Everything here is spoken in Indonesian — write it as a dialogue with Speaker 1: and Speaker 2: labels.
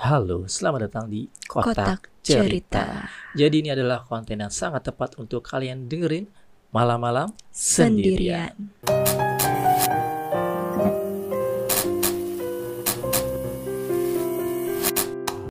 Speaker 1: Halo, selamat datang di Kotak, Cerita. Jadi ini adalah konten yang sangat tepat untuk kalian dengerin malam-malam sendirian.
Speaker 2: sendirian.